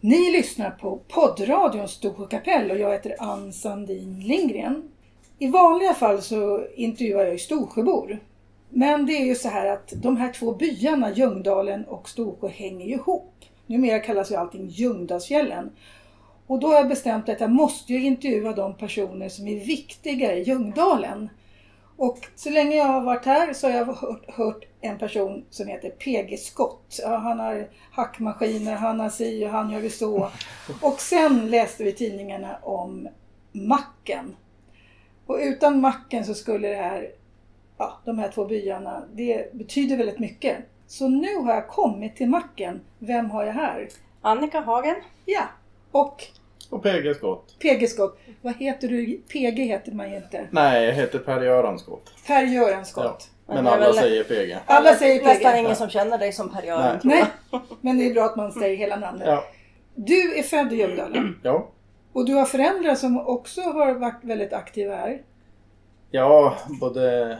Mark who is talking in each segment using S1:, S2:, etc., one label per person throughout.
S1: Ni lyssnar på poddradion Storsjö kapell och jag heter Ann Sandin Lindgren. I vanliga fall så intervjuar jag ju Storsjöbor. Men det är ju så här att de här två byarna, Ljungdalen och Storsjö, hänger ju ihop. Numera kallas ju allting Ljungdalsfjällen. Och då har jag bestämt att jag måste ju intervjua de personer som är viktiga i Ljungdalen. Och så länge jag har varit här så har jag hört, hört en person som heter PG Scott. Ja, han har hackmaskiner, han har si och han gör ju så. Och sen läste vi i tidningarna om Macken. Och utan Macken så skulle det här, ja, de här två byarna, det betyder väldigt mycket. Så nu har jag kommit till Macken. Vem har jag här?
S2: Annika Hagen.
S1: Ja, och
S3: Och PG Skott.
S1: PG Scott. Vad heter du? PG heter man ju inte.
S3: Nej, jag heter Per-Göran Skott.
S1: Per-Göran Scott.
S2: Men
S3: Men
S2: det är
S3: alla
S2: väl-
S3: säger PG.
S1: Alla säger PG.
S2: Nästan ingen som känner dig som Per Göran
S3: Nej.
S2: tror
S1: Nej,
S2: jag.
S1: men det är bra att man säger hela namnet.
S3: Ja.
S1: Du är född i Ljungdalen
S3: Ja.
S1: och du har föräldrar som också har varit väldigt aktiva här.
S3: ja, både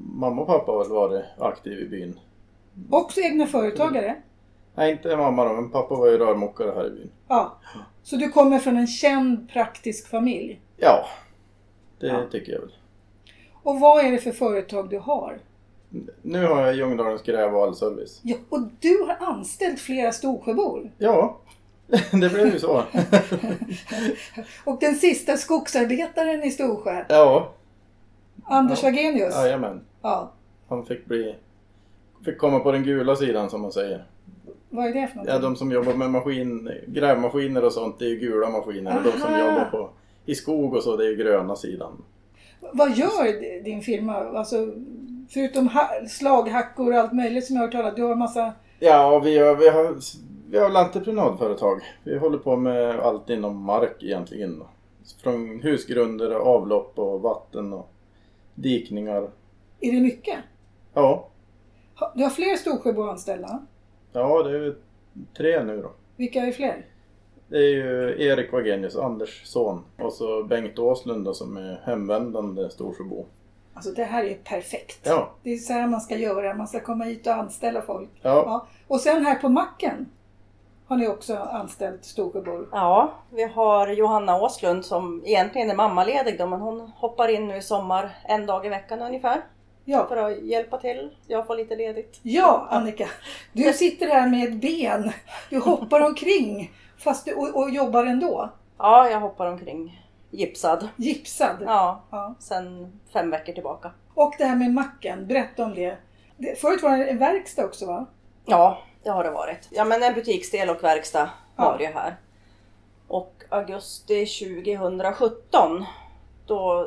S3: mamma och pappa har väl varit aktiv i byn.
S1: Också egna företagare.
S3: Nej, inte mamma då, men pappa var ju rörmokare här i byn.
S1: Ja. Så du kommer från en känd praktisk familj.
S3: Ja, det
S1: Ja.
S3: tycker jag väl.
S1: Och vad är det för företag du har?
S3: Nu har jag Ljungdalens gräv och allservice.
S1: Ja, och du har anställt flera Storsjöbor.
S3: Ja, det blev ju så.
S1: Och den sista skogsarbetaren i Storsjö,
S3: ja,
S1: Anders
S3: Ja.
S1: Wagenius. Ja,
S3: jajamän. Han fick bli... Fick komma på den gula sidan som man säger.
S1: Vad är det för någonting?
S3: Ja, de som jobbar med maskin, grävmaskiner och sånt, det är ju gula maskiner. Och de som
S1: Aha.
S3: jobbar på, i skog och så, det är ju gröna sidan.
S1: Vad gör d- din firma? Alltså, förutom ha- slaghackor och allt möjligt som jag har hört talas om. Du har en massa...
S3: Ja, vi har, vi har, vi har väl entreprenadföretag. Vi håller på med allt inom mark egentligen. då. Från husgrunder, och avlopp och vatten och dikningar.
S1: Är det mycket?
S3: Ja,
S1: Ha- Du har fler Storsjöbor anställda.
S3: ja det är ju tre nu då.
S1: Vilka är fler?
S3: Det är ju Erik Wagenius, Anders son och så Bengt Åslund då, som är hemvändande Storsjöbo.
S1: Alltså det här är perfekt.
S3: Ja,
S1: Det är så här man ska göra. Man ska komma hit och anställa folk.
S3: ja,
S1: Ja. Och sen här på macken har ni också anställt Storsjöbor.
S2: Ja, vi har Johanna Åslund som egentligen är mammaledig då, men hon hoppar in nu i sommar en dag i veckan ungefär
S1: Ja.
S2: för att hjälpa till. Jag får lite ledigt.
S1: ja, Annika. Du sitter här med ett ben. Du hoppar omkring fast du, och, och jobbar ändå.
S2: Ja, jag hoppar omkring gipsad.
S1: Gipsad.
S2: Ja,
S1: Ja.
S2: sen fem veckor tillbaka.
S1: Och det här med macken, berätta om det. det förut var det en verkstad också va?
S2: Ja, det har det varit. Ja, men en butiksdel och verkstad
S1: Ja.
S2: var det ju här. Och augusti 2017 då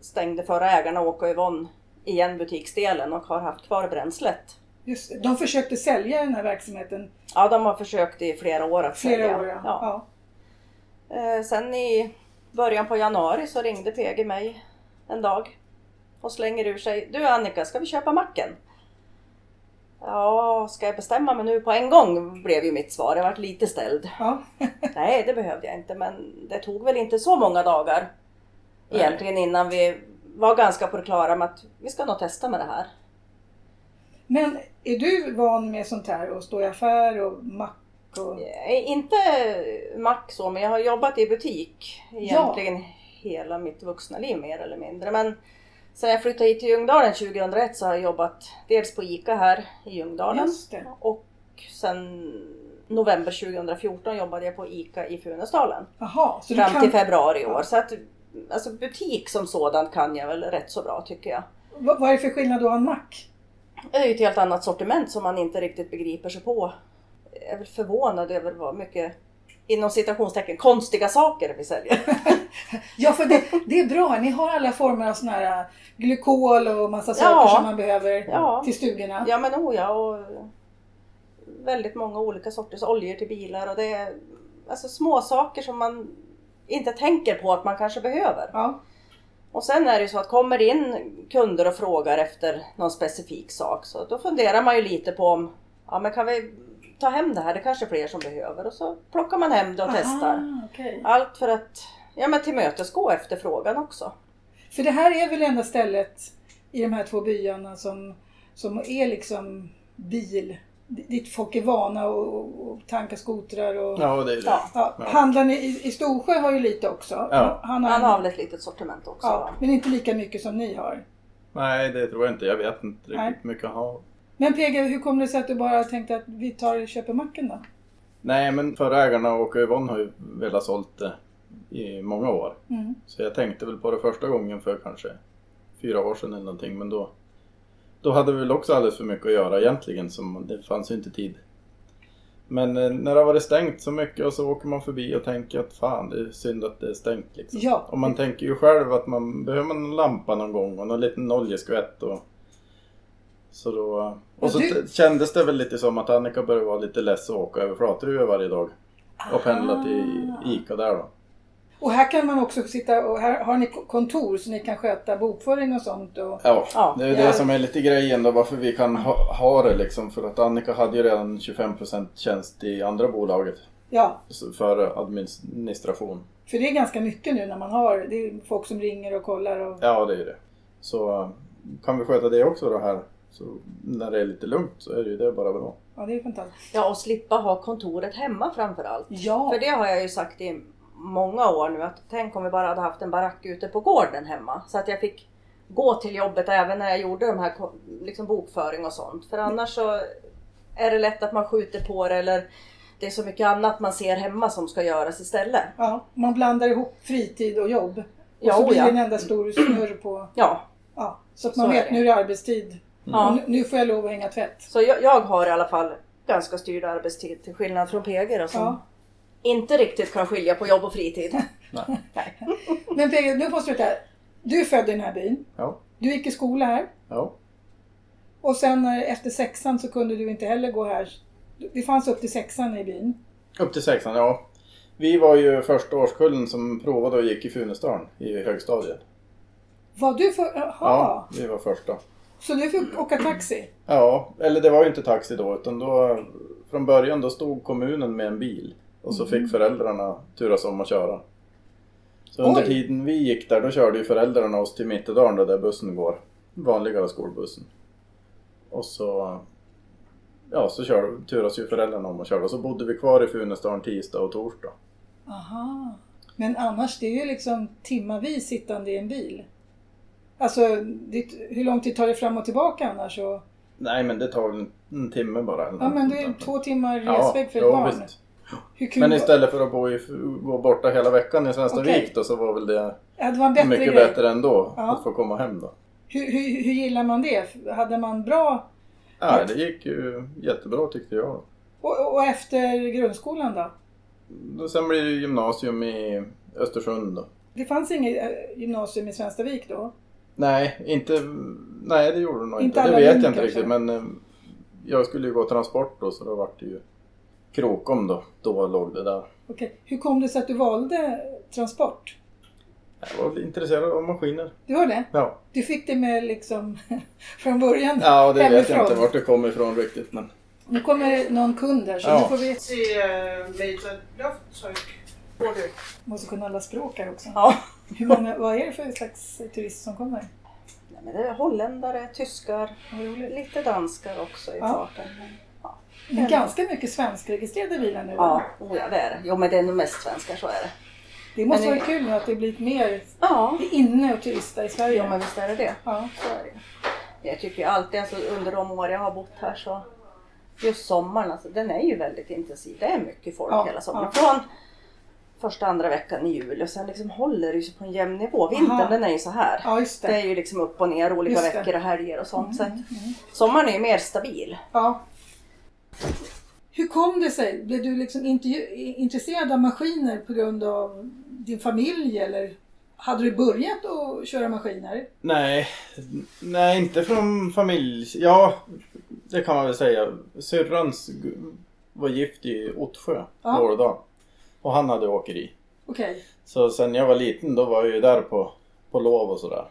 S2: stängde förra ägarna Åke och Yvonne igen butiksdelen och har haft kvar bränslet.
S1: Just det. De försökte sälja den här verksamheten
S2: Ja, de har försökt i flera år att
S1: flera
S2: sälja.
S1: år. Ja.
S2: Ja.
S1: Ja.
S2: Eh, Sen i början på januari så ringde PG mig en dag och slänger ur sig. Du Annika, ska vi köpa macken? Ja, ska jag bestämma mig nu på en gång? blev ju mitt svar. Jag vart lite ställd.
S1: Ja.
S2: Nej, det behövde jag inte, men det tog väl inte så många dagar
S3: Nej.
S2: egentligen innan vi var ganska på det klara med att vi ska nog testa med det här.
S1: Men är du van med sånt här och stå i affär och mack och...
S2: Eh, Inte mack så, men jag har jobbat i butik egentligen hela mitt vuxna liv mer eller mindre. Men sen jag flyttade hit till Ljungdalen 2001 så har jag jobbat dels på ICA här i Ljungdalen
S1: Just det.
S2: och sen november 2014 jobbade jag på ICA i Funäsdalen.
S1: Jaha, så du
S2: fram till
S1: kan...
S2: februari i år. Så att, alltså butik som sådant kan jag väl rätt så bra tycker jag.
S1: Vad vad är det för skillnad då en mack?
S2: Det är ju ett helt annat sortiment som man inte riktigt begriper sig på. Jag är väl förvånad över vad mycket, inom citationstecken, konstiga saker vi säljer.
S1: Ja, för det, det är bra. Ni har alla former av sån här äh, glykol och massa saker
S2: Ja.
S1: som man behöver
S2: Ja.
S1: till stugorna.
S2: Ja men oh ja, och väldigt många olika sorters oljor till bilar och det är alltså små saker som man inte tänker på att man kanske behöver.
S1: Ja.
S2: Och sen är det ju så att kommer det in kunder och frågar efter någon specifik sak så då funderar man ju lite på om ja, men kan vi ta hem det här, det kanske är fler som behöver och så plockar man hem
S1: Ah.
S2: det och testar.
S1: Aha, okej.
S2: Allt för att ja, men tillmötesgå efterfrågan också.
S1: För det här är väl det enda stället i de här två byarna som, som är liksom bil dit folk är vana och, och tanka skotrar och...
S3: Ja, det är det.
S2: Ja.
S1: Ja,
S3: Ja.
S1: Handlaren i, i Storsjö har ju lite också.
S3: Ja.
S1: Han har,
S2: Han har väl ett litet sortiment också?
S1: Mm. ja,
S2: va?
S1: men inte lika mycket som ni har.
S3: Nej, det tror jag inte. Jag vet inte
S1: Nej.
S3: riktigt hur mycket han har.
S1: Men PG, hur kom det sig att du bara tänkte att vi tar köper macken då?
S3: Nej, men förra ägarna och Yvonne har ju velat sålt det i många år.
S1: Mm.
S3: Så jag tänkte väl på det första gången för kanske fyra år sedan eller någonting. Men då, då hade vi väl också alldeles för mycket att göra egentligen. Som det fanns ju inte tid. Men eh, när det har varit stängt så mycket och så åker man förbi och tänker att fan det är synd att det är stängt. Liksom.
S1: Ja.
S3: Och man tänker ju själv att man behöver man en lampa någon gång och någon liten oljeskvätt. Och, så då,
S1: Men
S3: och så
S1: du-
S3: t- kändes det väl lite som att Annika började vara lite less att åka över Flatruve varje dag. Och pendla till
S1: Ah.
S3: Ica där då.
S1: Och här kan man också sitta och här har ni ko- kontor så ni kan sköta bokföring och sånt. Och,
S3: Ja,
S2: Ja.
S3: det är ju
S1: Ja.
S3: det som är lite grejen då varför vi kan ha, ha det liksom. För att Annika hade ju redan 25% tjänst i andra bolaget
S1: ja,
S3: så- för administration.
S1: för det är ganska mycket nu när man har, det är folk som ringer och kollar. Och,
S3: Ja, det är ju det. Så eh, kan vi sköta det också då här. Så när det är lite lugnt så är det ju det bara bra.
S1: ja, det är fantastiskt.
S2: Ja, och slippa ha kontoret hemma framförallt.
S1: Ja,
S2: För det har jag ju sagt i många år nu att tänk om vi bara hade haft en barack ute på gården hemma. Så att jag fick gå till jobbet även när jag gjorde de här ko- liksom bokföring och sånt.
S1: Mm.
S2: För annars så är det lätt att man skjuter på det eller det är så mycket annat man ser hemma som ska göras istället.
S1: ja, man blandar ihop fritid och jobb. Och
S2: Ja,
S1: så
S2: oh
S1: blir
S2: ja.
S1: det en enda stor snurr på,
S2: Ja,
S1: ja, så att man
S2: Så är
S1: vet
S2: det.
S1: nu är det arbetstid. Och
S2: ja.
S1: nu- nu får jag lov att hänga tvätt.
S2: så jag, jag har i alla fall ganska styrd arbetstid till skillnad från PG då, som
S1: Ja.
S2: inte riktigt kan skilja på jobb och fritid.
S3: Nej.
S1: Men PG, nu måste vi ta. Du är född i den här byn.
S3: Ja,
S1: Du gick i skola här.
S3: ja.
S1: Och sen när, efter sexan så kunde du inte heller gå här. Det fanns upp till sexan i byn.
S3: Upp till sexan, ja. Vi var ju första årskullen som provade och gick i Funäsdalen i högstadiet.
S1: Var du för... Jaha!
S3: Ja, vi var första.
S1: Så du fick åka taxi?
S3: Ja, eller det var ju inte taxi då utan då från början då stod kommunen med en bil och så
S1: Mm.
S3: fick föräldrarna turas om att köra. Så under
S1: Oj.
S3: tiden vi gick där då körde ju föräldrarna oss till Mittedalen då där bussen går. Vanliga skolbussen. Och så ja, så kör, turas ju föräldrarna om att köra. Så bodde vi kvar i Funäsdalen tisdag och torsdag.
S1: Aha. Men annars, det är ju liksom timmavis sittande i en bil. Alltså, ditt, hur lång tid tar det fram och tillbaka annars? Och,
S3: Nej men det tar väl en, en timme bara. eller
S1: ja, men det är
S3: något sånt där.
S1: två timmar
S3: Ja,
S1: resväg för ett
S3: jo,
S1: barn.
S3: visst.
S1: Hur kul
S3: Men
S1: var-
S3: istället för att bo i, gå borta hela veckan i Svenstavik
S1: Okej.
S3: då så var väl det
S1: ja, det var en bättre
S3: mycket
S1: grej.
S3: bättre ändå
S1: Ja.
S3: att få komma hem då.
S1: Hur, hur, hur gillar man det? Hade man bra...
S3: Ja, det gick ju jättebra tyckte jag.
S1: Och, och efter grundskolan då?
S3: Då- Sen blir det ju gymnasium i Östersund då.
S1: Det fanns inget eh, gymnasium i Svenstavik då?
S3: Nej, inte, nej det gjorde det nog
S1: Inte
S3: inte.
S1: alla
S3: det vet
S1: linjer
S3: jag inte riktigt
S1: kanske.
S3: men eh, jag skulle ju gå transport då så då vart det ju Krokom då. Då låg det där.
S1: Okej. Hur kom det sig att du valde transport?
S3: Jag var väl intresserad av maskiner.
S1: Du var det?
S3: Ja,
S1: Du fick det med liksom från början?
S3: ja det vet jag inte
S1: hemifrån.
S3: vart det kom ifrån riktigt men.
S1: Nu kommer någon kund här så
S3: Ja.
S1: nu får vi...
S4: til øh, Major Loftsøg. Hvor det?
S1: Måste kunna alla språk här också.
S2: Ja.
S1: Hur många, vad är det för slags turist som kommer?
S2: Nej, men det är holländare, tyskar,
S1: Vad roligt.
S2: lite danskar också i
S1: Ja.
S2: farten.
S1: Det är ganska mycket svenskregistrerade bilar nu.
S2: Ja, oh ja, det är det. Jo, men det är nog mest svenskar, så är det.
S1: Det måste
S2: Men
S1: vara
S2: det-
S1: kul nu att det blivit mer
S2: Ja,
S1: inne och turista i Sverige.
S2: jo, men visst är det det.
S1: Ja.
S2: Så är det. Jag tycker ju alltid, alltså, under de år jag har bott här så, just sommaren, alltså, den är ju väldigt intensiv. Det är mycket folk
S1: Ja,
S2: hela sommaren.
S1: ja.
S2: Från första, andra veckan i juli och sen liksom håller det ju sig på en jämn nivå. Vintern,
S1: Aha.
S2: den är ju så här.
S1: ja, just det.
S2: Det är ju liksom upp och ner olika
S1: Just det. Mm,
S2: veckor och helger och sånt. Så att sommaren är ju mer stabil.
S1: Ja. Hur kom det sig? Blev du liksom intervju- intresserad av maskiner på grund av din familj eller hade du börjat att köra maskiner?
S3: Nej, nej inte från familj. Ja, det kan man väl säga. Syrrans gu- var gift i Ottsjö,
S1: Ja.
S3: Vårdal. Och han hade åkeri.
S1: Okej,
S3: Så sen jag var liten då var jag ju där på, på lov och sådär.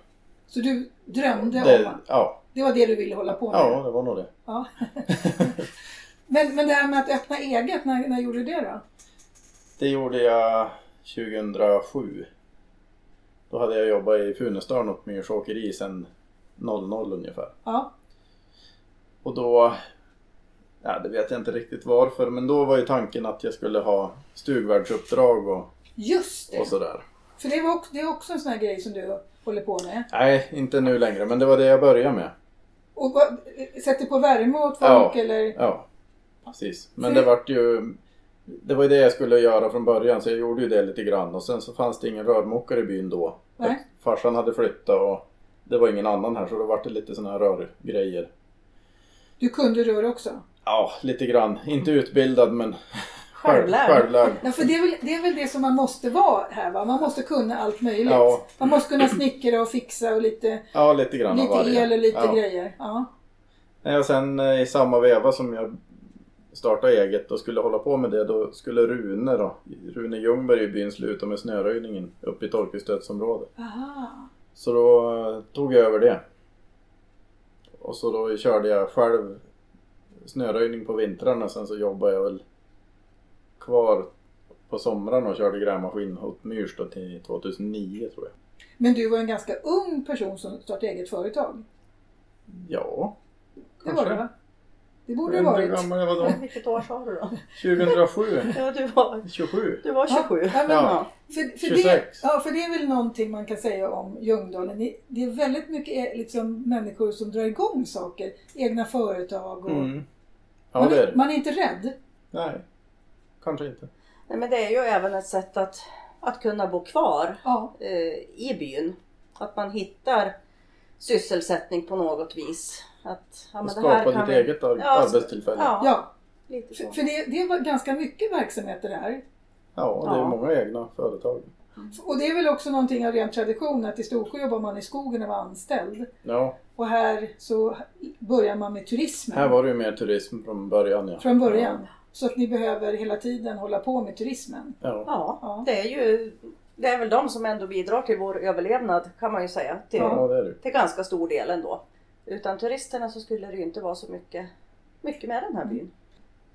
S1: så du drömde om
S3: Det,
S1: att
S3: ja,
S1: det var det du ville hålla på med?
S3: ja, det var nog det.
S1: Ja. men, men det här med att öppna eget, när, när gjorde du det då?
S3: Det gjorde jag 2007. Då hade jag jobbat i Funäsdalen åt Myrs åkeri sen 00 ungefär.
S1: Ja,
S3: Och då Ja, det vet jag inte riktigt varför, men då var ju tanken att jag skulle ha stugvärdsuppdrag och,
S1: Just det!
S3: och sådär.
S1: För det, var, också- det är också en sån här grej som du håller på med.
S3: Nej, inte nu längre, men det var det jag började med.
S1: Och vad, sätter på värme åt
S3: Ja.
S1: folk eller?
S3: Ja, precis. Men
S1: Så-
S3: det vart ju... Det var ju det jag skulle göra från början så jag gjorde ju det lite grann och sen så fanns det ingen rörmokare i byn då.
S1: Nej.
S3: Farsan hade flyttat och det var ingen annan här så då vart det lite sådana här rörgrejer.
S1: Du kunde röra också?
S3: Ja, lite grann. Inte utbildad men
S2: Självlärd.
S3: självlärd.
S1: Ja, för det är, väl, det är väl det som man måste vara här va? Man måste kunna allt möjligt.
S3: Ja.
S1: Man måste kunna snickra och fixa och lite,
S3: Ja, lite grann av
S1: lite
S3: varje.
S1: el och lite
S3: ja.
S1: grejer. Ja.
S3: Nej, Och sen eh, i samma veva som jag startade eget och skulle hålla på med det då skulle Rune då, Rune Ljungberg i byn sluta med snöröjningen uppe i torkestödsområdet.
S1: Aha.
S3: Så då eh, tog jag över det. Och så då körde jag själv snöröjning på vintrarna sen så jobbade jag väl kvar på somrarna och körde grävmaskin åt Myrs då till 2009 tror jag.
S1: Men du var en ganska ung person som startade eget företag.
S3: Ja,
S1: Det
S3: Kanske.
S1: var det va? Det
S3: jag
S1: borde
S3: vet
S1: det
S3: inte hur
S1: varit.
S3: gammal jag var då.
S2: Vilket år sa du då?
S3: 2007?
S2: Ja, du var,
S3: 27?
S2: du var 27.
S1: Ja, men,
S3: Ja.
S1: För, för, det,
S3: 26.
S1: ja, för det är väl någonting man kan säga om Ljungdalen. Det- Det är väldigt mycket eh, liksom, människor som drar igång saker. Egna företag och...
S3: Mm. Ja,
S1: man,
S3: det är
S1: är,
S3: det.
S1: man är inte rädd.
S3: Nej, kanske inte.
S2: Nej, men det är ju även ett sätt att, att kunna bo kvar
S1: Ja.
S2: eh, i byn. Att man hittar sysselsättning på något vis. Att, ja, men
S3: Och
S2: det här
S3: skapa
S2: kan
S3: ditt
S2: vi-
S3: eget ar-
S2: Ja, så-
S3: arbetstillfälle. Ja,
S2: Ja,
S1: ja.
S2: lite
S1: För,
S2: så.
S1: för det, det var ganska mycket verksamheter här.
S3: det är
S2: Ja.
S3: många egna företag.
S1: Och det är väl också någonting av ren tradition att i Storsjö jobbar man i skogen och var anställd.
S3: Ja,
S1: Och här så börjar man med turismen
S3: här var det ju mer turism från början ja.
S1: från början. Så att ni behöver hela tiden hålla på med turismen.
S3: Ja.
S1: Ja.
S2: Ja, det är ju det är väl de som ändå bidrar till vår överlevnad kan man ju säga. Till,
S3: Ja, det är det.
S2: till ganska stor del ändå. Utan turisterna så skulle det ju inte vara så mycket, mycket med den här byn.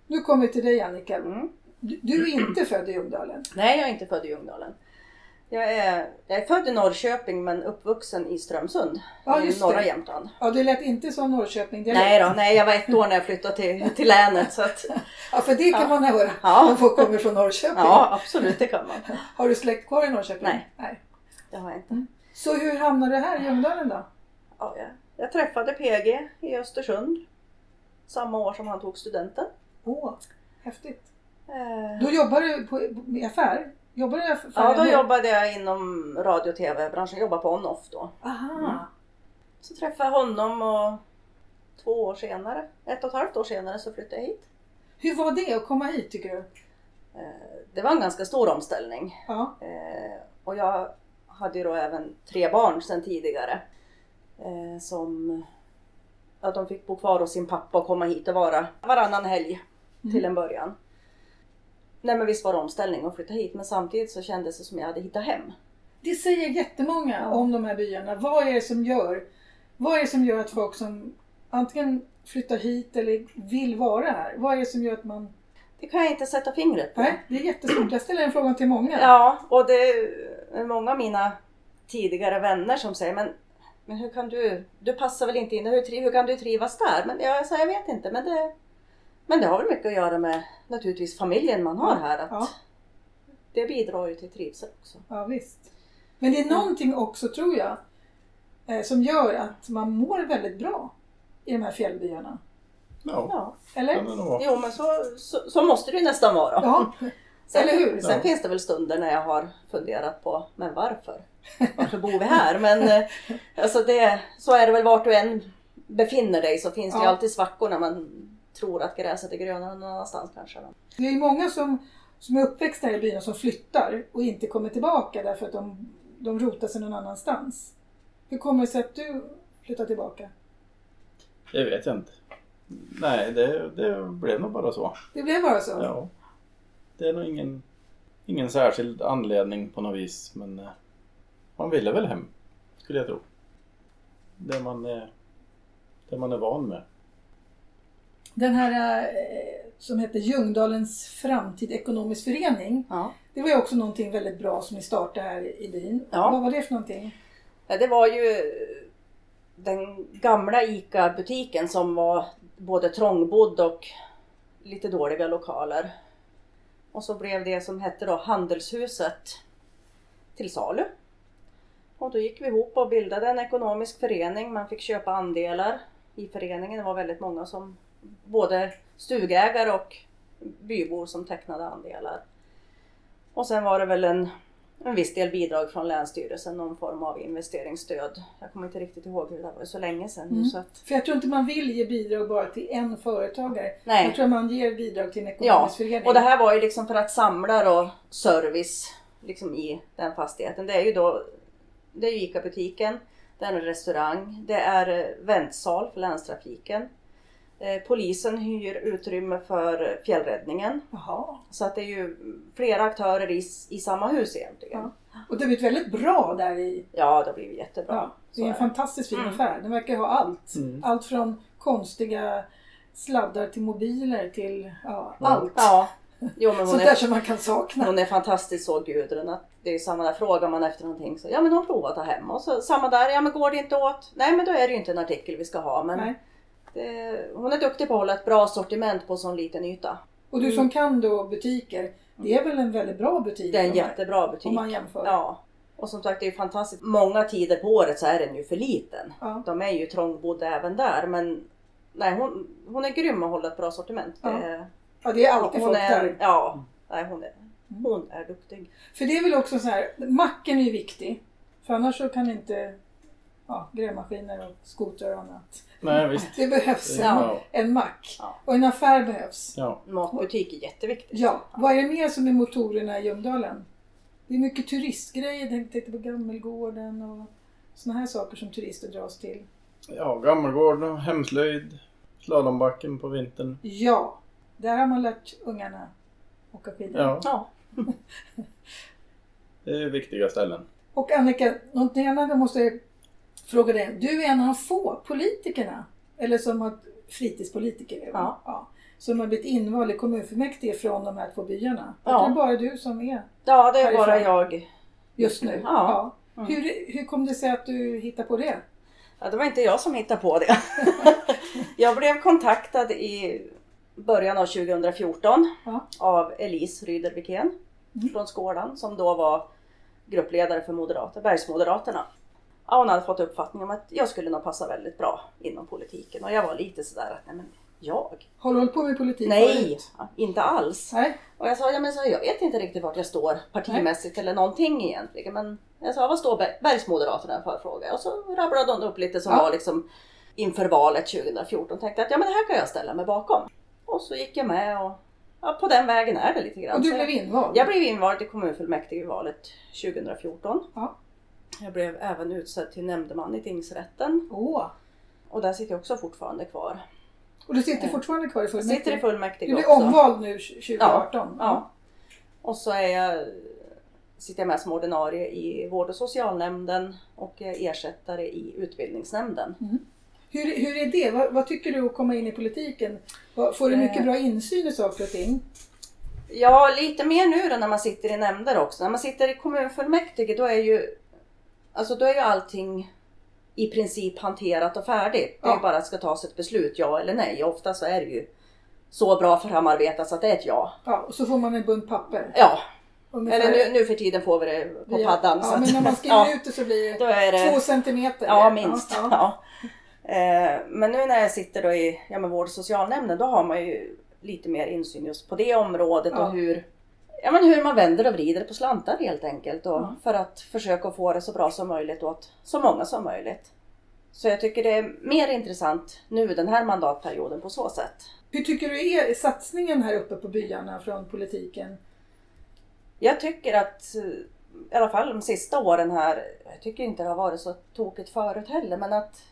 S1: Nu kommer vi till dig Annika.
S2: Mm.
S1: Du, du är inte född i Ljungdalen.
S2: Nej, jag är inte född i Ljungdalen. Jag är, jag är född i Norrköping men uppvuxen i Strömsund,
S1: Ja,
S2: i
S1: just
S2: Mm, norra
S1: det.
S2: Jämtland.
S1: Ja, det lät inte som Norrköping direkt.
S2: Nej då, nej jag var ett år när jag flyttade till, till länet så att,
S1: Ja, för det kan
S2: Ja.
S1: man höra
S2: Ja.
S1: om folk kommer från Norrköping.
S2: ja absolut det kan man.
S1: Har du släkt kvar i Norrköping?
S2: Nej. Det har jag inte.
S1: Så hur hamnade du här i Ljungdalen då?
S2: Ja, jag, jag träffade PG i Östersund samma år som han tog studenten.
S1: Åh, häftigt.
S2: Eh,
S1: Då jobbar du på, i affär? Jobbar du i affär?
S2: Ja, då jobbade jag inom radio och tv-branschen. Jobbade på on-off då.
S1: Aha.
S2: Så träffade jag honom och två år senare, ett och ett halvt år senare så flyttade jag hit.
S1: Hur var det att komma hit tycker du?
S2: Det var en ganska stor omställning.
S1: Ja.
S2: Eh, Och jag hade ju då även tre barn sedan tidigare. eh, Som att de fick bo kvar hos sin pappa och komma hit och vara varannan helg till en början. Nej men visst var det omställning att flytta hit men samtidigt så kändes det som jag hade hittat hem.
S1: Det säger jättemånga
S2: Ja.
S1: om de här byarna. Vad är det som gör? Vad är det som gör att folk som antingen flyttar hit eller vill vara här? Vad är det som gör att man...
S2: Det kan jag inte sätta fingret på.
S1: Nej, det är jättesvårt. Jag ställer den frågan till många.
S2: Ja, och det är många av mina tidigare vänner som säger men, men hur kan du, du passar väl inte in, hur, tri- hur kan du trivas där? Men jag säger jag vet inte, men det, men det har väl mycket att göra med naturligtvis familjen man har här. Att
S1: Ja.
S2: Det bidrar ju till trivsel också.
S1: Ja, visst. Men det är någonting också, tror jag, eh, som gör att man mår väldigt bra i de här fjällbyarna.
S3: Ja,
S2: Ja.
S1: Eller?
S3: kan det nog vara.
S2: Jo men så, så, så måste det ju nästan vara.
S1: Ja,
S2: Sen,
S1: eller hur?
S2: sen
S3: Ja.
S2: finns det väl stunder när jag har funderat på, men varför? Varför bor vi här? Men eh, alltså det, så är det väl vart du än befinner dig så finns det ju
S1: Ja.
S2: alltid svackor när man tror att gräset är grönare någon annanstans kanske. Men,
S1: Det är ju många som, som är uppväxta här i byn och som flyttar och inte kommer tillbaka därför att de, de rotar sig någon annanstans. Hur kommer det sig att du flyttar tillbaka?
S3: Det vet jag inte. Nej, det, det blev nog bara så.
S1: Det blev bara så?
S3: Ja. Det är nog ingen, ingen särskild anledning på något vis. Men eh, man ville väl hem, skulle jag tro. Det man är, det man är van med.
S1: Den här eh, som heter Ljungdalens framtid ekonomisk förening.
S2: ja.
S1: Det var ju också någonting väldigt bra som ni startade här i byn.
S2: Ja.
S1: Vad var det för någonting?
S2: Det var ju den gamla ICA-butiken som var både trångbodd och lite dåliga lokaler. Och så blev det som hette då Handelshuset till salu. Och då gick vi ihop och bildade en ekonomisk förening. Man fick köpa andelar i föreningen. Det var väldigt många som både stugägare och bybor som tecknade andelar. Och sen var det väl en, en viss del bidrag från Länsstyrelsen, någon form av investeringsstöd. Jag kommer inte riktigt ihåg hur det var så länge sedan. nu,
S1: Mm.
S2: Så att,
S1: För jag tror inte man vill ge bidrag bara till en företagare.
S2: nej.
S1: Jag tror man ger bidrag till en
S2: Ja,
S1: ekonomisk förening.
S2: och det här var ju liksom för att samla då service liksom i den fastigheten. Det är ju då det är ju ICA-butiken, det är en restaurang, det är eh, väntsal för länstrafiken. Eh, Polisen hyr utrymme för fjällräddningen.
S1: Jaha.
S2: Så att det är ju flera aktörer i, s- i samma hus egentligen.
S1: Ja.
S2: Ja,
S1: Och det har blivit väldigt bra där i...
S2: det blir ju jättebra.
S1: Ja, det är
S2: så
S1: en
S2: är det.
S1: fantastiskt fin
S2: Mm.
S1: affär. Den verkar ha allt.
S3: Mm.
S1: Allt från konstiga sladdar till mobiler till ja,
S3: Ja.
S1: allt.
S2: Ja, jo men hon
S1: Sånt där
S2: är,
S1: som man kan sakna.
S2: hon är fantastisk så Gudrun. Att det är samma där, frågar man efter någonting så ja men hon provat att ta hem. Och så samma där, ja men går det inte åt? Nej men då är det ju inte en artikel vi ska ha. Men
S1: Nej.
S2: det, hon är duktig på att hålla ett bra sortiment på sån liten yta.
S1: Och du som kan då butiker, det är väl en väldigt bra butik?
S2: Det är en
S1: de här,
S2: jättebra butik.
S1: Om man jämför.
S2: Ja. Och som sagt det är ju fantastiskt. Många tider på året så är den ju för liten.
S1: Ja.
S2: De är ju trångbodda även där men nej hon, hon är grym att hålla ett bra sortiment.
S1: Ja.
S2: Det-
S1: Ja, det är alltid
S2: hon
S1: folk
S2: är,
S1: där.
S2: Ja, nej, hon, är,
S1: Mm.
S2: hon är duktig.
S1: För det är väl också så här, macken är ju viktig. För annars så kan inte ja, grävmaskiner och skotrar och annat.
S3: Nej visst.
S1: Det behövs en,
S2: Ja.
S1: en mack.
S2: Ja.
S1: Och en affär behövs.
S3: Ja.
S2: Matbutik är jätteviktigt.
S1: Ja, vad är det mer som är motorerna i Ljungdalen? Det är mycket turistgrejer. Jag tänkte på Gammelgården och såna här saker som turister dras till.
S3: ja, Gammelgården, och hemslöjd, slalombacken på vintern.
S1: Ja, där har man lärt ungarna åka skidor.
S3: Ja,
S2: Ja.
S3: det är viktiga ställen.
S1: Och Annika, någonting annat jag måste fråga dig. Du är en av de få politikerna, eller som har fritidspolitiker, även.
S2: Ja.
S1: som har blivit invald i kommunfullmäktige från de här två byarna.
S2: Ja.
S1: Det är bara du som är
S2: ja, det är
S1: Härifrån.
S2: bara jag.
S1: just nu.
S2: Ja.
S1: Ja.
S2: Mm.
S1: Hur, hur kom det sig att du hittade på det?
S2: Ja, det var inte jag som hittade på det. jag blev kontaktad i början av 2014
S1: Ja.
S2: av Elise Ryder Wikén
S1: Mm.
S2: från Skålan som då var gruppledare för Moderater, Bergsmoderaterna. Ja, hon hade fått uppfattningen om att jag skulle nog passa väldigt bra inom politiken och jag var lite sådär att nej men jag?
S1: Har du hållit på med politik
S2: Nej,
S1: förut?
S2: inte alls.
S1: Nej.
S2: Och jag sa, ja, men så, jag vet inte riktigt vart jag står partimässigt eller någonting egentligen. Men jag sa, vad står Ber- Bergsmoderaterna för fråga? Och så rabblade hon upp lite som
S1: Ja.
S2: var liksom inför valet 2014. Tänkte att ja, men det här kan jag ställa mig bakom. Och så gick jag med och ja, på den vägen är det lite grann.
S1: Och du
S2: Så
S1: blev
S2: jag,
S1: invald?
S2: jag blev invald i kommunfullmäktige i valet 2014.
S1: Ja.
S2: Jag blev även utsedd till nämndeman i tingsrätten
S1: Åh.
S2: och där sitter jag också fortfarande kvar.
S1: Och du sitter fortfarande kvar i
S2: Eh, Jag
S1: fullmäktige?
S2: sitter i fullmäktige
S1: Du blev
S2: också.
S1: omvald nu 2018?
S2: Ja. Och så är jag, sitter jag med som ordinarie i vård och socialnämnden och jag är ersättare i utbildningsnämnden.
S1: Hur, hur är det? Vad, vad tycker du att komma in i politiken? Vad- Får du mycket
S2: Eh.
S1: bra insyn i saker och ting?
S2: Ja, lite mer nu då när man sitter i nämnder också. När man sitter i kommunfullmäktige då är ju, alltså då är ju allting i princip hanterat och färdigt. Det är
S1: Ja.
S2: ju bara att det ska tas ett beslut, ja eller nej. Ofta så är det ju så bra framarbetat så att det är ett ja.
S1: Ja, och så får man en bunt papper.
S2: Ja,
S1: Ungefär.
S2: eller nu, nu för tiden får vi det på
S1: Via-
S2: paddan.
S1: Ja,
S2: så att-
S1: men när man skriver
S2: ja,
S1: ut det så blir
S2: då
S1: det,
S2: är det
S1: två centimeter.
S2: Ja, minst.
S1: Ja,
S2: Ja,
S1: ja.
S2: Eh, Men nu när jag sitter då i ja, men vård och socialnämnden, då har man ju lite mer insyn just på det området
S1: Ja.
S2: och hur, ja, men hur man vänder och vrider på slantar helt enkelt. Och
S1: Ja.
S2: För att försöka få det så bra som möjligt åt så många som möjligt. Så jag tycker det är mer intressant nu den här mandatperioden på så sätt.
S1: Hur tycker du är satsningen här uppe på byarna från politiken?
S2: Jag tycker att, eh, i alla fall de sista åren här, jag tycker inte det har varit så tokigt förut heller, men att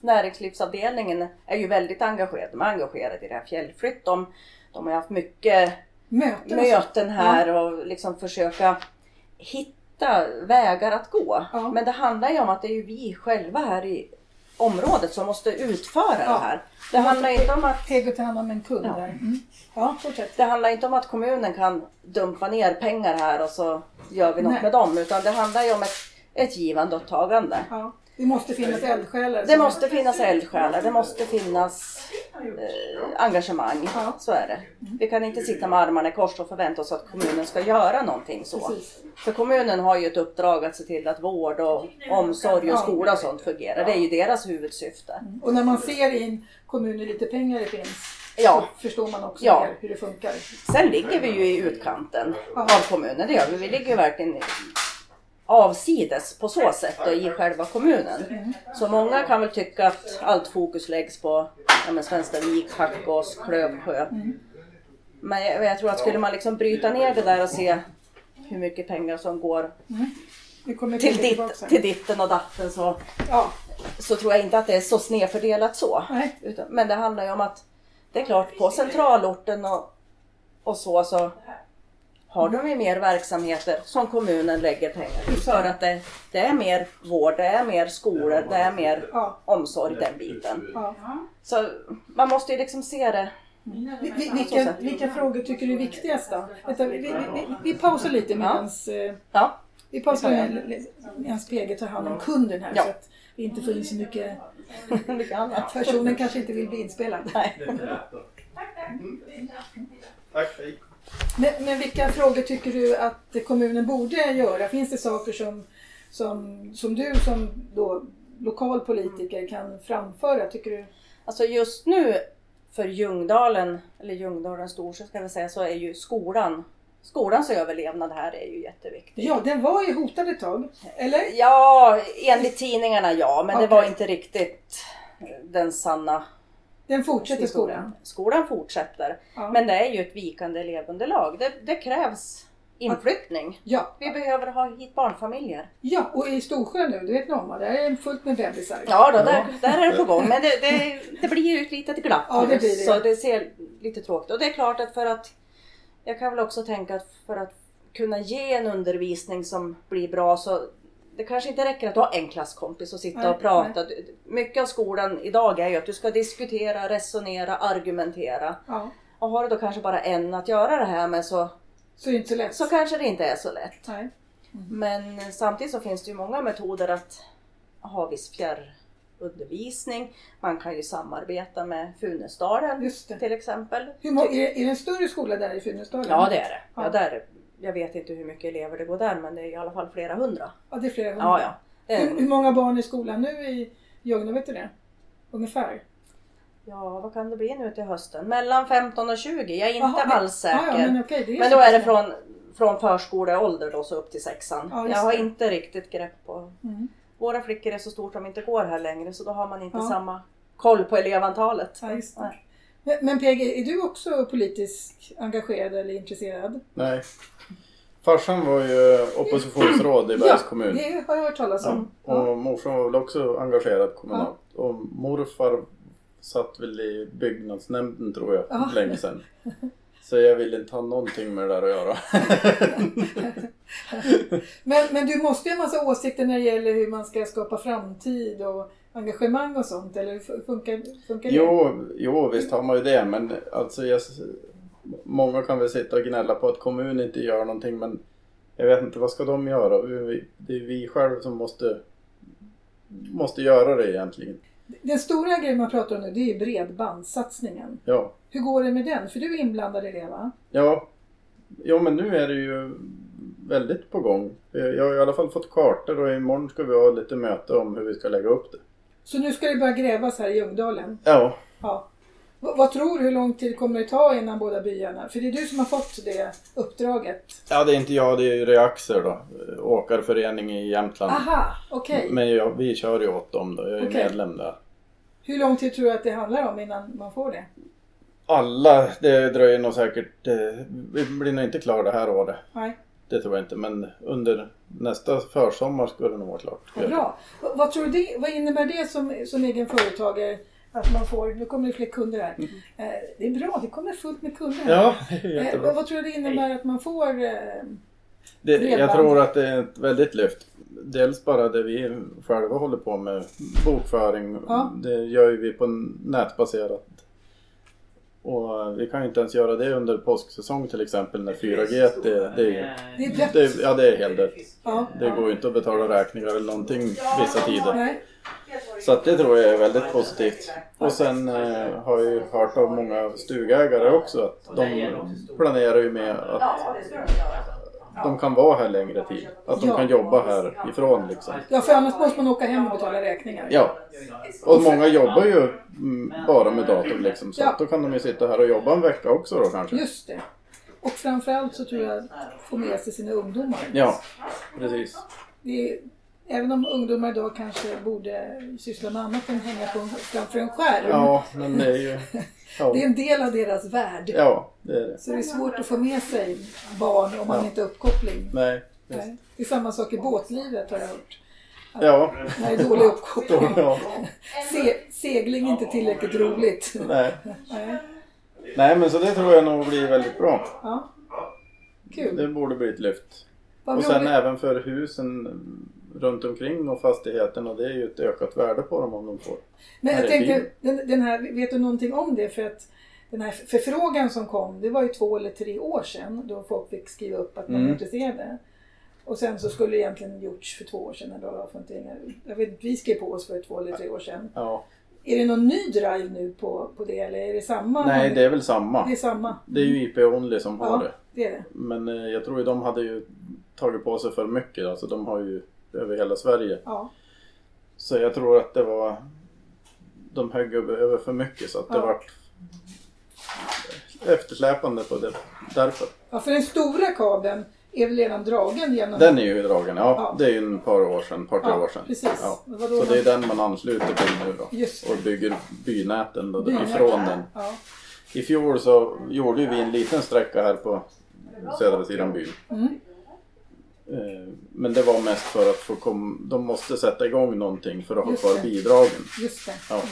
S2: näringslivsavdelningen är ju väldigt engagerad. De är engagerade i det här fjällflytt. De, de har ju haft mycket
S1: Möten? och så-
S2: möten här och liksom försöka hitta vägar att gå.
S1: Ja.
S2: Men det handlar ju om att det är ju vi själva här i området som måste utföra
S1: Ja.
S2: det här. Det handlar inte om att
S1: Peg och ta hand om en kund
S2: Ja.
S1: där. Mm. Ja, fortsätt.
S2: det handlar inte om att kommunen kan dumpa ner pengar här och så gör vi något
S1: Nej.
S2: med dem. Utan det handlar ju om ett, ett givande och ett tagande.
S1: Ja. Det måste finnas eldsjälar.
S2: Det
S1: som-
S2: måste finnas eldsjälar, det måste finnas
S4: har gjort.
S2: eh,
S4: Ja.
S2: engagemang.
S1: Ja.
S2: Så är det. Vi kan inte sitta med armarna i kors och förvänta oss att kommunen ska göra någonting så.
S1: Precis.
S2: För kommunen har ju ett uppdrag att se till att vård och omsorg och skola och sånt fungerar. Det är ju deras huvudsyfte.
S1: Och när man ser i en kommun hur lite pengar det finns
S2: Ja.
S1: så förstår man också
S2: Ja.
S1: mer hur det funkar.
S2: Sen ligger vi ju i utkanten av kommunen, det gör vi. Vi ligger ju verkligen i- avsides på så sätt och i själva kommunen. Så många kan väl tycka att allt fokus läggs på ja, men Svenstavik, Hackås, Klövsjö. Men jag, jag tror att skulle man liksom bryta ner det där och se hur mycket pengar som går
S1: Vi kommer
S2: till,
S1: komma tillbaka
S2: ditt,
S1: sen.
S2: till ditten och datten så
S1: Ja.
S2: så tror jag inte att det är så snedfördelat så.
S1: Nej.
S2: Utan, men det handlar ju om att det är klart på centralorten och, och så, så har de ju mer verksamheter som kommunen lägger pengar till. För att det, det är mer vård, det är mer skolor, det är mer
S1: Ja.
S2: omsorg den biten.
S1: Ja.
S2: Så man måste ju liksom se det.
S1: Vi- vi- Vilka, vilka frågor tycker du är viktigast då? Vänta, vi, vi, vi, vi pausar lite medans, eh,
S2: Ja,
S1: vi pausar
S2: Det kan vi
S1: med- medans PG tar hand om kunden här
S2: Ja.
S1: så att vi inte får in så mycket.
S2: mycket annat.
S1: Personen kanske inte vill bli inspelad.
S2: Mm.
S3: Tack, hej.
S1: Men, men vilka frågor tycker du att kommunen borde göra? Finns det saker som, som, som du som då lokal politiker kan framföra? Tycker du?
S2: Alltså just nu för Ljungdalen, eller Ljungdalen Storsjö ska vi säga, så är ju skolan, skolans överlevnad här är ju jätteviktig.
S1: Ja, den var ju hotad ett tag. Eller?
S2: Ja, enligt tidningarna ja, men det var
S1: Okej.
S2: inte riktigt eh, den sanna
S1: Den fortsätter skolan.
S2: historien. Skolan fortsätter,
S1: Ja.
S2: men det är ju ett vikande elevunderlag. Det, det krävs inflyttning.
S1: Ja.
S2: Vi behöver ha hit barnfamiljer.
S1: ja, och i Storsjö nu, du vet Norma, där är det fullt med bebisar.
S2: Ja, då, där, där är det på gång, men det, det, det blir ju ett litet glapp.
S1: Ja, det
S2: nu,
S1: blir det.
S2: Så det ser lite tråkigt Och det är klart att för att, jag kan väl också tänka att för att kunna ge en undervisning som blir bra så det kanske inte räcker att ha en klasskompis och sitta
S1: Nej,
S2: och prata. Du- Mycket av skolan idag är ju att du ska diskutera, resonera, argumentera.
S1: Ja,
S2: Och har du då kanske bara en att göra det här med så,
S1: så det är inte så lätt.
S2: så kanske det inte är så lätt.
S1: Nej.
S2: Men samtidigt så finns det ju många metoder att ha viss fjärrundervisning. Man kan ju samarbeta med Funäsdalen
S1: Just det.
S2: till exempel.
S1: Hur må- är, det- är det en större skola där i Funäsdalen?
S2: Ja det är det.
S1: Ja.
S2: Ja, där, jag vet inte hur mycket elever det går där men det är i alla fall flera hundra.
S1: Ja, det är flera hundra.
S2: Ja, ja. Det är-
S1: Hur, hur många barn i skolan nu i Ljungna, vet du det? Ungefär?
S2: Ja, vad kan det bli nu till hösten? Mellan 15 och 20, jag är inte
S1: Jaha, men-
S2: alls säker.
S1: Ja, ja, men,
S2: men,
S1: okej, det är
S2: då
S1: så
S2: är det
S1: pass
S2: från, från förskoleålder då så upp till sexan.
S1: Ja, just
S2: jag har
S1: det.
S2: inte riktigt grepp på...
S1: många. Mm.
S2: Våra flickor är så stort de inte går här längre så då har man inte
S1: Ja.
S2: samma koll på elevantalet.
S1: Ja, just det.
S2: Nej.
S1: Men, men PG, är du också politiskt engagerad eller intresserad?
S3: Nej. Farsan var ju oppositionsråd i Bergs kommun.
S1: det har jag hört talas om. Ja.
S3: Och morsan var väl också engagerad kommunalt. Och morfar satt väl i byggnadsnämnden tror jag,
S1: Ja.
S3: länge sedan. Så jag vill inte ha någonting med det där att göra.
S1: Men, men du måste ju ha en massa åsikter när det gäller hur man ska skapa framtid och engagemang och sånt, eller hur funkar, funkar det?
S3: jo, jo, visst har man ju det. Men alltså, jag, många kan väl sitta och gnälla på att kommunen inte gör någonting. Men jag vet inte, vad ska de göra? Vi- Det är vi själva som måste, måste göra det egentligen.
S1: Den stora grejen man pratar om nu, det är ju bredbandssatsningen.
S3: Ja.
S1: Hur går det med den? För du är inblandad i det va?
S3: Ja. ja, men nu är det ju väldigt på gång. Eh, Jag har i alla fall fått kartor och imorgon ska vi ha lite möte om hur vi ska lägga upp det.
S1: Så nu ska det börja grävas här i Ljungdalen.
S3: Ja,
S1: Ja. V- vad tror du, hur lång tid kommer det ta innan båda byarna? För det är du som har fått det uppdraget.
S3: ja det är inte jag, det är ju Reaxer då. Eh, Åkarförening i Jämtland.
S1: Aha, okej.
S3: Men jag, vi kör ju åt dem då, jag är
S1: Okej.
S3: medlem där.
S1: Hur lång tid tror du att det handlar om innan man får det?
S3: Alla, det dröjer nog säkert, eh, vi blir nog inte klara det här året.
S1: Nej,
S3: Det tror jag inte, men under nästa försommar ska det nog vara klart.
S1: vad bra. V- vad, tror du det, vad innebär det som, som egen företagare? Att man får, nu kommer det fler kunder här. Eh, det är bra, det kommer fullt med kunder här.
S3: Mm. Ja, det är
S1: eh,
S3: jättebra.
S1: vad, vad tror du det innebär att man får? Eh,
S3: Det, jag
S1: Bredband.
S3: tror att det är ett väldigt lyft. Dels bara det vi själva håller på med, bokföring.
S1: Ja.
S3: Det gör ju vi på nätbaserat. Och vi kan ju inte ens göra det under påsksäsong till exempel när 4G det, det, är-
S1: Det är
S4: det,
S1: dött.
S3: det, ja, det är helt dött.
S1: Ja.
S3: Det går ju inte att betala räkningar eller någonting vissa tider.
S1: Nej.
S3: Så att det tror jag är väldigt positivt. Och sen eh, har jag ju hört av många stugägare också att de planerar ju med att
S4: Ja, det ska de göra.
S3: de kan vara här längre tid. Att de
S1: Ja.
S3: kan jobba här ifrån liksom.
S1: Ja, för annars måste man åka hem och betala räkningar.
S3: Ja, och många jobbar ju mm, bara med dator liksom. Så
S1: Ja.
S3: att då kan de ju sitta här och jobba en vecka också då kanske.
S1: Just det. Och framförallt så tror jag att få med sig sina ungdomar.
S3: Ja, precis.
S1: Det är, även om ungdomar idag kanske borde syssla med annat än hänga på, framför en skärm.
S3: Ja, men det är ju... Ja,
S1: Det är en del av deras värld.
S3: ja det är det.
S1: Så det är svårt att få med sig barn om man
S3: Ja.
S1: inte har uppkoppling.
S3: Nej. just.
S1: Nej. Det är samma sak i båtlivet har jag hört.
S3: Ja,
S1: När det är dålig
S3: då,
S1: uppkoppling.
S3: ja.
S1: Se, segling är inte tillräckligt roligt.
S3: Nej.
S1: Nej.
S3: Nej, men så det tror jag nog blir väldigt bra.
S1: Ja. Kul.
S3: Det borde bli ett lyft.
S1: Vad
S3: Och sen
S1: roligt.
S3: även för husen runt omkring och fastigheterna. Det är ju ett ökat värde på dem om de får.
S1: Men jag
S3: Ja, det är
S1: tänkte, den, den här, vet du någonting om det? För att den här förfrågan som kom, det var ju två eller tre år sedan då folk fick skriva upp att man
S3: Mm.
S1: var intresserade. Och sen så skulle det egentligen gjorts för två år sedan eller vad det var för någonting. Jag vet inte, vi skrev på oss för två eller tre år sedan.
S3: Ja.
S1: Är det någon ny drive nu på, på det eller är det samma?
S3: Nej, det är väl
S1: Det är
S3: samma.
S1: samma.
S3: Det är ju IP-only som har
S1: Ja.
S3: det.
S1: Det är det.
S3: Men eh, jag tror ju de hade ju tagit på sig för mycket. Alltså de har ju över hela Sverige.
S1: Ja.
S3: Så jag tror att det var... De högg över över för mycket så att det
S1: Ja.
S3: vart eftersläpande på det. Därför.
S1: ja, för den stora kabeln är väl redan dragen genom...
S3: Den är ju dragen, ja.
S1: Ja.
S3: Det är ju en par år sedan, par tre
S1: Ja,
S3: år sedan.
S1: precis.
S3: Ja.
S1: Det var då
S3: Så det är
S1: man-
S3: den man ansluter till nu då.
S1: Just det.
S3: Och bygger bynäten då,
S1: Bynäten.
S3: ifrån den.
S1: Ja.
S3: I fjol så gjorde ju vi en liten sträcka här på södra sidan byn.
S1: Mm.
S3: Eh, Men det var mest för att få kom... de måste sätta igång någonting för att ha
S1: Just
S3: kvar
S1: det. Mm.
S3: bidragen.
S1: Just det.
S3: Ja.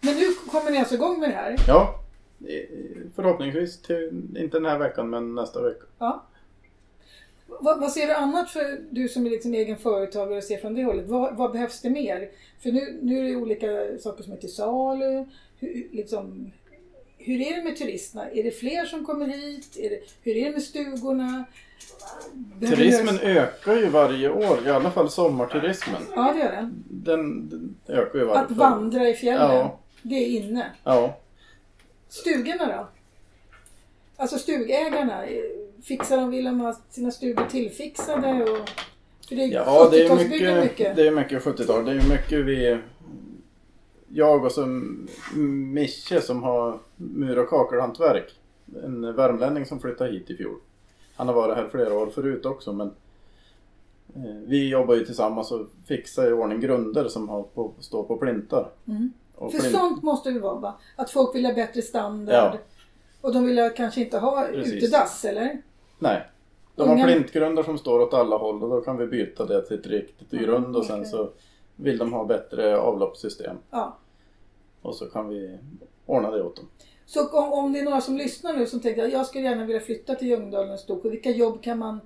S1: Men nu kommer ni alltså igång med det här?
S3: ja, eh, förhoppningsvis till, inte den här veckan men nästa vecka.
S1: Ja. Vad, vad ser du annat för du som är liksom egen företagare och ser från det hållet? Vad, vad behövs det mer? För nu, nu är det olika saker som är till salu. Hur, liksom, hur är det med turisterna? Är det fler som kommer hit? Är det, hur är det med stugorna? Behöver vi
S3: Turismen
S1: göra-
S3: ökar ju varje år, i alla fall sommarturismen.
S1: Ja, det gör det.
S3: Den, den ökar ju varje
S1: Att vandra i fjällen,
S3: Ja.
S1: det är inne.
S3: Ja.
S1: Stugorna då? Alltså stugägarna, eh, fixar de, vill de ha sina stugor tillfixade? Och, för det är
S3: Ja, det är
S1: 70-talsbyggen
S3: mycket, det är mycket 70-tal. Det är mycket vi... Jag och så Mische som har mur och kakelhantverk. En värmlänning som flyttade hit i fjol. Han har varit här flera år förut också men eh, vi jobbar ju tillsammans och fixar i ordning grunder som har på, står på plintar.
S1: Mm.
S3: Och
S1: För
S3: plin-
S1: sånt måste det vara va? Att folk vill ha bättre standard.
S3: Ja.
S1: Och de vill ha, kanske inte ha
S3: Precis.
S1: utedass eller?
S3: Nej. De har
S1: Unga-
S3: plintgrunder som står åt alla håll och då kan vi byta det till ett riktigt
S1: Mm,
S3: grund och sen
S1: okej.
S3: så vill de ha bättre avloppssystem
S1: Ja.
S3: och så kan vi ordna det åt dem.
S1: Så om, om det är några som lyssnar nu som tänker att jag skulle gärna vilja flytta till Ljungdalen och Storsjö. Vilka jobb kan man...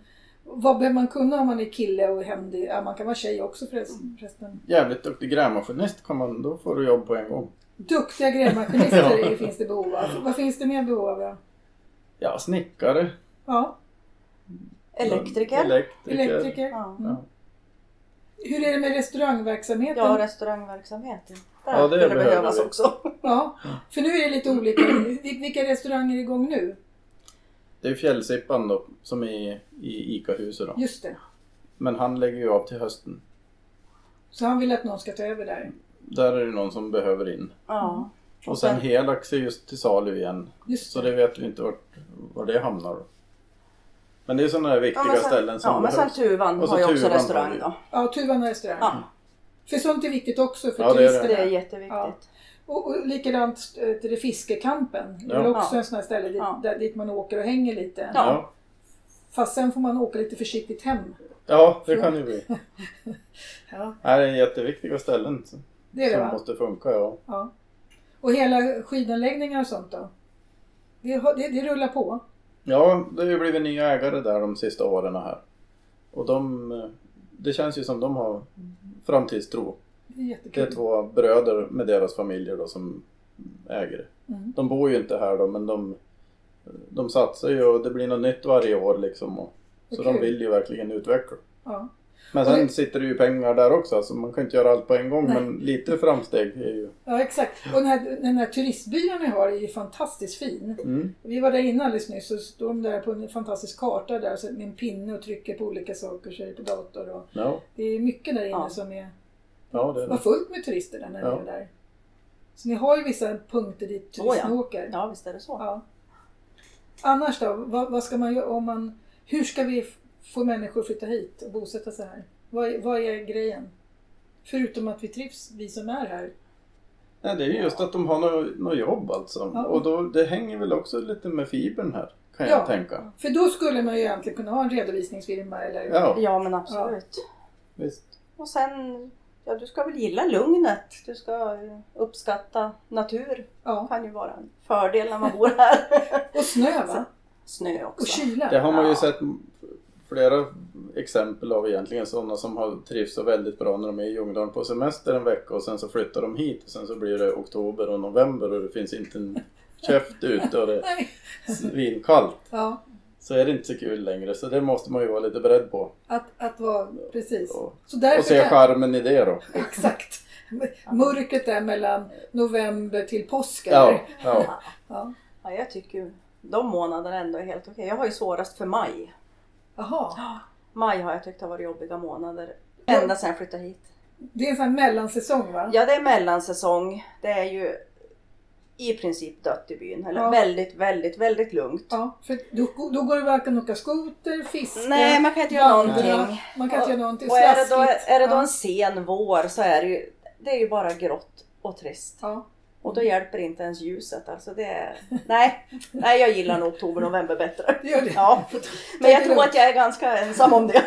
S1: Vad behöver man kunna om man är kille och händig? Ja, man kan vara tjej också förresten.
S3: Mm.
S1: förresten.
S3: jävligt duktig grävmaskinist kan man, då får du jobb på en gång.
S1: Duktiga grävmaskinister
S3: Ja.
S1: är- finns det behov av. Vad finns det mer behov av? Ja.
S3: Ja, snickare.
S1: ja.
S2: Elektriker.
S3: Elektriker.
S1: Elektriker.
S2: Ja.
S1: Mm. Hur är det med restaurangverksamheten?
S2: Ja, restaurangverksamheten. Där
S3: Ja, det
S2: skulle
S3: behöver
S2: behövas
S3: vi.
S2: också.
S1: Ja, för nu är det lite olika. Vil- Vilka restauranger är igång nu?
S3: Det är Fjällsippan då, som är i ICA-huset då.
S1: Just det.
S3: Men han lägger ju av till hösten.
S1: Så han vill att någon ska ta över där.
S3: Där är det någon som behöver in.
S2: Ja.
S3: Och sen Helax är just till salu igen.
S1: Just
S3: Så det vet vi inte vart, var det hamnar då. Men det är sådana här viktiga
S2: Ja, men sen,
S3: ställen som
S2: ja, men sen
S3: behövs.
S2: Tuvan
S3: Och så
S2: har ju också
S3: Tuvan har
S2: restaurang
S3: vi. Mm.
S2: då.
S1: Ja, Tuvan restaurang.
S2: Ja,
S1: För sånt är viktigt också för
S3: Ja, det är
S1: turisterna.
S2: det är jätteviktigt.
S1: Och, och likadant st- till det Fiskekampen. Det är
S3: Ja.
S1: också
S2: Ja.
S1: en sån här ställe dit,
S2: Ja.
S1: där, dit man åker och hänger lite.
S2: Ja.
S3: Ja.
S1: Fast sen får man åka lite försiktigt hem.
S3: ja, det kan ju bli.
S1: Ja.
S3: Det här är jätteviktiga ställen som
S1: Det är det
S3: som
S1: va?
S3: måste funka. Ja.
S1: Ja. Och hela skidanläggningar och sånt då? Det, har- det, det rullar på.
S3: Ja, det har ju blivit nya ägare där de sista åren här. Och de, eh, det känns ju som de har framtidstro.
S1: Det är
S3: Det
S1: jättekul.
S3: är två bröder med deras familjer då som äger det.
S1: Mm.
S3: De bor ju inte här då men de, de satsar ju och det blir något nytt varje år liksom. Och, så
S1: Vad
S3: de
S1: kul.
S3: vill ju verkligen utveckla.
S1: Ja.
S3: Men
S1: Och
S3: sen
S1: det-
S3: sitter det ju pengar där också, så man kan inte göra allt på en gång.
S1: Nej.
S3: Men lite framsteg är ju...
S1: ja, exakt. Och den här, den här turistbyn ni har är ju fantastiskt fin.
S3: Mm.
S1: Vi var där inne alldeles nyss och står de där på en fantastisk karta där så med en pinne och trycker på olika saker så är det på dator. Och
S3: Ja,
S1: det är mycket där inne
S2: Ja.
S1: som är,
S3: ja, det är
S1: var
S3: det.
S1: fullt med turister där när
S3: Ja.
S1: vi var där. Så ni har ju vissa punkter dit
S2: Oh, ja.
S1: turisterna åker.
S2: Ja, visst är det så.
S1: Ja. Annars då? Vad, vad ska man göra om man... Hur ska vi f- få människor att flytta hit och bosätta sig här? Vad, är- vad är grejen? Förutom att vi trivs, vi som är här.
S3: Nej, det är ju just att de har något nå jobb alltså.
S1: Ja.
S3: Och då, det hänger väl också lite med fibern här, kan
S1: Ja.
S3: jag tänka.
S1: För då skulle man ju egentligen kunna ha en redovisningsfirma eller...
S3: Ja,
S2: Ja, men absolut.
S3: visst.
S2: Och sen, ja du ska väl gilla lugnet. Du ska eh, uppskatta natur. Det
S1: Ja.
S2: kan ju vara en fördel när man bor här.
S1: Och snö va?
S2: Snö också.
S1: Och kyla.
S3: Det har man ju
S2: Ja.
S3: sett flera exempel av egentligen. Sådana som har trivs så väldigt bra när de är i Ljungdalen på semester en vecka och sen så flyttar de hit och sen så blir det oktober och november och det finns inte en käft ute och det
S1: Nej.
S3: är svinkallt.
S1: Ja,
S3: Så är det inte så kul längre så det måste man ju vara lite beredd på.
S1: att, att vara... Precis.
S3: Och,
S1: Så därför
S3: och se
S1: kan,
S3: charmen i det då.
S1: Exakt. Mörkret där mellan november till påsk.
S3: Ja,
S1: eller?
S3: ja.
S1: ja.
S2: Ja, jag tycker ju de månaderna ändå är helt okej. Jag har ju svårast för maj.
S1: Jaha.
S2: Maj har jag tyckt har varit jobbiga månader.
S1: Ja.
S2: Ända sedan jag flyttade hit.
S1: Det är en sån här mellansäsong va?
S2: Ja, det är mellansäsong. Det är ju i princip dött i byn. Eller
S1: Ja.
S2: väldigt, väldigt, väldigt lugnt.
S1: Ja, för då, då går det varken att åka skoter, fiska,
S2: Nej, man kan inte göra
S1: vandra.
S2: någonting.
S1: Man kan inte göra någonting.
S2: Och är det, då,
S1: Slaskigt.
S2: är det då
S1: Ja.
S2: en sen vår så är det ju, det är ju bara grått och trist.
S1: Ja.
S2: Och
S1: Mm.
S2: då hjälper inte ens ljuset. Alltså det är, nej, nej, jag gillar nog oktober, november bättre.
S1: Det gör det.
S2: Ja. Men jag tror att jag är ganska ensam om det.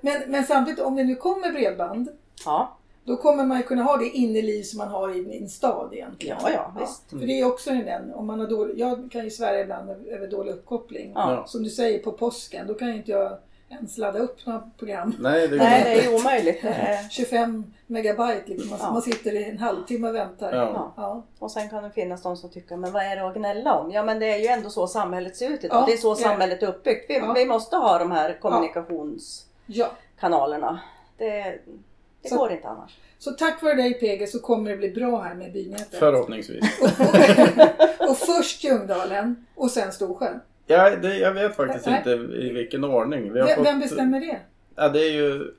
S1: Men, men samtidigt, om det nu kommer bredband,
S2: Ja,
S1: då kommer man ju kunna ha det inneliv som man har i en stad egentligen.
S2: ja, ja visst. Mm.
S1: För det är också en den, om man har dålig, jag kan ju svära ibland över dålig uppkoppling.
S2: Ja.
S1: Som du säger, på påsken, då kan ju inte jag ens ladda upp några program.
S3: Nej, det
S2: Nej,
S3: går
S2: det är
S3: inte.
S2: ju omöjligt. Det är-
S1: 25 megabyte liksom, man,
S2: Ja.
S1: man sitter i en halvtimme och väntar.
S3: Ja.
S2: Ja.
S1: Ja.
S2: Och sen kan det finnas de som tycker, men vad är det att gnälla om? Ja men det är ju ändå så samhället ser ut idag.
S1: Ja,
S2: det är så
S1: det är det.
S2: samhället är uppbyggt. Vi,
S1: Ja.
S2: vi måste ha de här
S1: ja.
S2: kommunikationskanalerna. Det, det
S1: Så-
S2: går inte annars.
S1: Så tack vare dig Pege så kommer det bli bra här med bynätet.
S3: Förhoppningsvis.
S1: Och först Ljungdalen och sen Storsjön.
S3: Ja, det, jag vet faktiskt
S1: Nej.
S3: inte i vilken ordning. Vi har
S1: Vem,
S3: fått,
S1: vem bestämmer det?
S3: Ja, det är ju,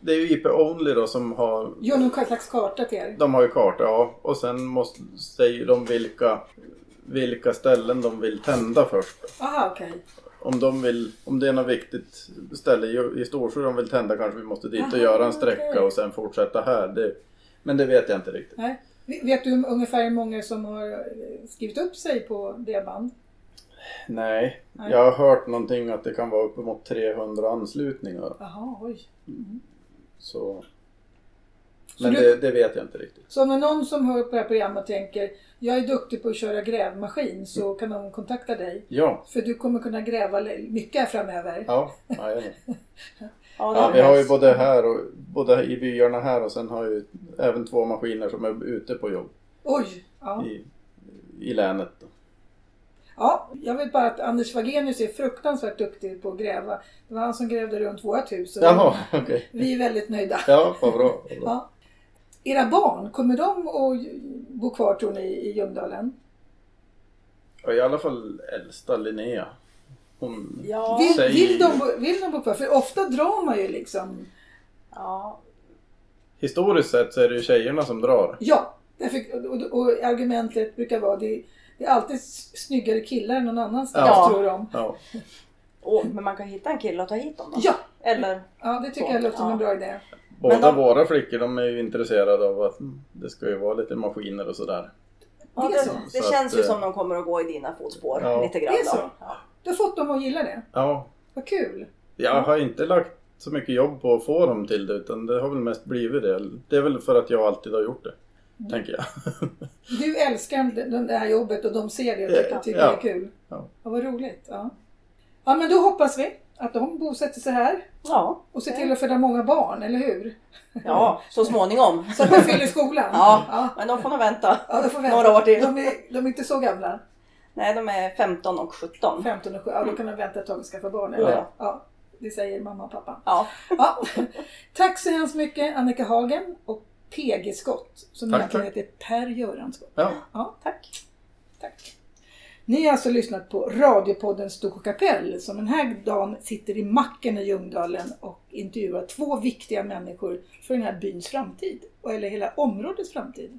S3: det är ju IP Only då som har
S1: Gör någon slags karta till er?
S3: De har ju karta, ja. Och sen måste, säger de vilka, vilka ställen de vill tända först.
S1: Aha, okej.
S3: Om, de vill, om det är något viktigt ställe i, i Storsjö de vill tända kanske vi måste dit
S1: Aha,
S3: och göra en sträcka
S1: okej.
S3: och sen fortsätta här. Det, men det vet jag inte riktigt.
S1: Nej. V- Vet du ungefär hur många som har eh, skrivit upp sig på bredband?
S3: Nej,
S1: Nej.
S3: jag har hört någonting att det kan vara uppemot 300 anslutningar.
S1: Jaha, oj.
S3: Så.
S1: Så
S3: Men
S1: du-
S3: det, det vet jag inte riktigt.
S1: Så om det är någon som hör på det här programmet och tänker jag är duktig på att köra grävmaskin så kan de kontakta dig.
S3: Ja,
S1: För du kommer kunna gräva le- mycket här framöver.
S3: ja, ja, jag vet.
S2: Ja, det
S3: Ja, vi
S2: behövs.
S3: har ju både här och både i byarna här och sen har ju även två maskiner som är ute på jobb.
S1: Oj! Ja.
S3: i, i länet. Då.
S1: Ja, jag vet bara att Anders Wagenius är fruktansvärt duktig på att gräva. Det var han som grävde runt vårt hus. och
S3: Jaha, okej.
S1: Vi är väldigt nöjda.
S3: Ja, vad bra. Vad bra.
S1: Ja. Era barn, kommer de att bo kvar tror ni i Ljungdalen?
S3: Och I alla fall äldsta Linnea. Hon
S2: Ja.
S1: Vill,
S3: säger
S1: vill, de, bo- vill de bo kvar? För ofta drar man ju liksom.
S2: Ja,
S3: Historiskt sett så är det ju tjejerna som drar.
S1: Ja, därför, och, och argumentet brukar vara det, det är alltid s- snyggare killar någon annanstans
S2: Ja.
S1: tror de.
S3: Ja,
S2: Åh, men man kan hitta en kille och ta hit dem då.
S1: Ja,
S2: Eller,
S1: ja det tycker jag låter som en bra idé.
S3: båda
S2: de-
S3: våra flickor de är ju intresserade av att mm, det ska ju vara lite maskiner och sådär.
S2: ja,
S1: är
S2: det,
S1: så.
S2: det
S3: Så
S2: känns
S3: att,
S2: ju
S3: eh,
S2: som de kommer att gå i dina fotspår
S3: Ja.
S2: lite grann.
S1: Det är
S2: då.
S1: så.
S2: Ja.
S1: Du har fått dem att gilla det.
S3: Ja,
S1: Vad kul!
S3: jag har inte lagt så mycket jobb på att få dem till det utan det har väl mest blivit det. Det är väl för att jag alltid har gjort det, tänker jag.
S1: Du älskar det- det här jobbet och de ser det och tycker, tycker
S3: Ja.
S1: det är kul.
S3: Ja.
S1: Ja, vad roligt. Ja. ja, men då hoppas vi att de bosätter sig här
S2: Ja,
S1: och ser till att föda många barn, eller hur?
S2: ja så småningom.
S1: Så att de fyller skolan.
S2: Ja.
S1: ja.
S2: Men de får nog vänta.
S1: Ja, de får vänta.
S2: Några år till.
S1: De är, de är inte så gamla.
S2: Nej, de är 15 och 17.
S1: 15 och 7, ja, då kan de
S3: Mm.
S1: vänta ett tag och skaffa barn. Eller?
S2: Ja.
S1: Ja. det säger mamma och pappa.
S2: Ja,
S1: Ja. Tack så hemskt mycket Annika Hagen och PG Skott som
S3: Tack,
S1: egentligen
S3: tack.
S1: heter Per-Göran Skott.
S3: Ja.
S2: tack.
S1: Tack. Ni har alltså lyssnat på radiopodden Storsjö kapell som den här dagen sitter i macken i Ljungdalen och intervjuar två viktiga människor för den här byns framtid, och- eller hela områdets framtid.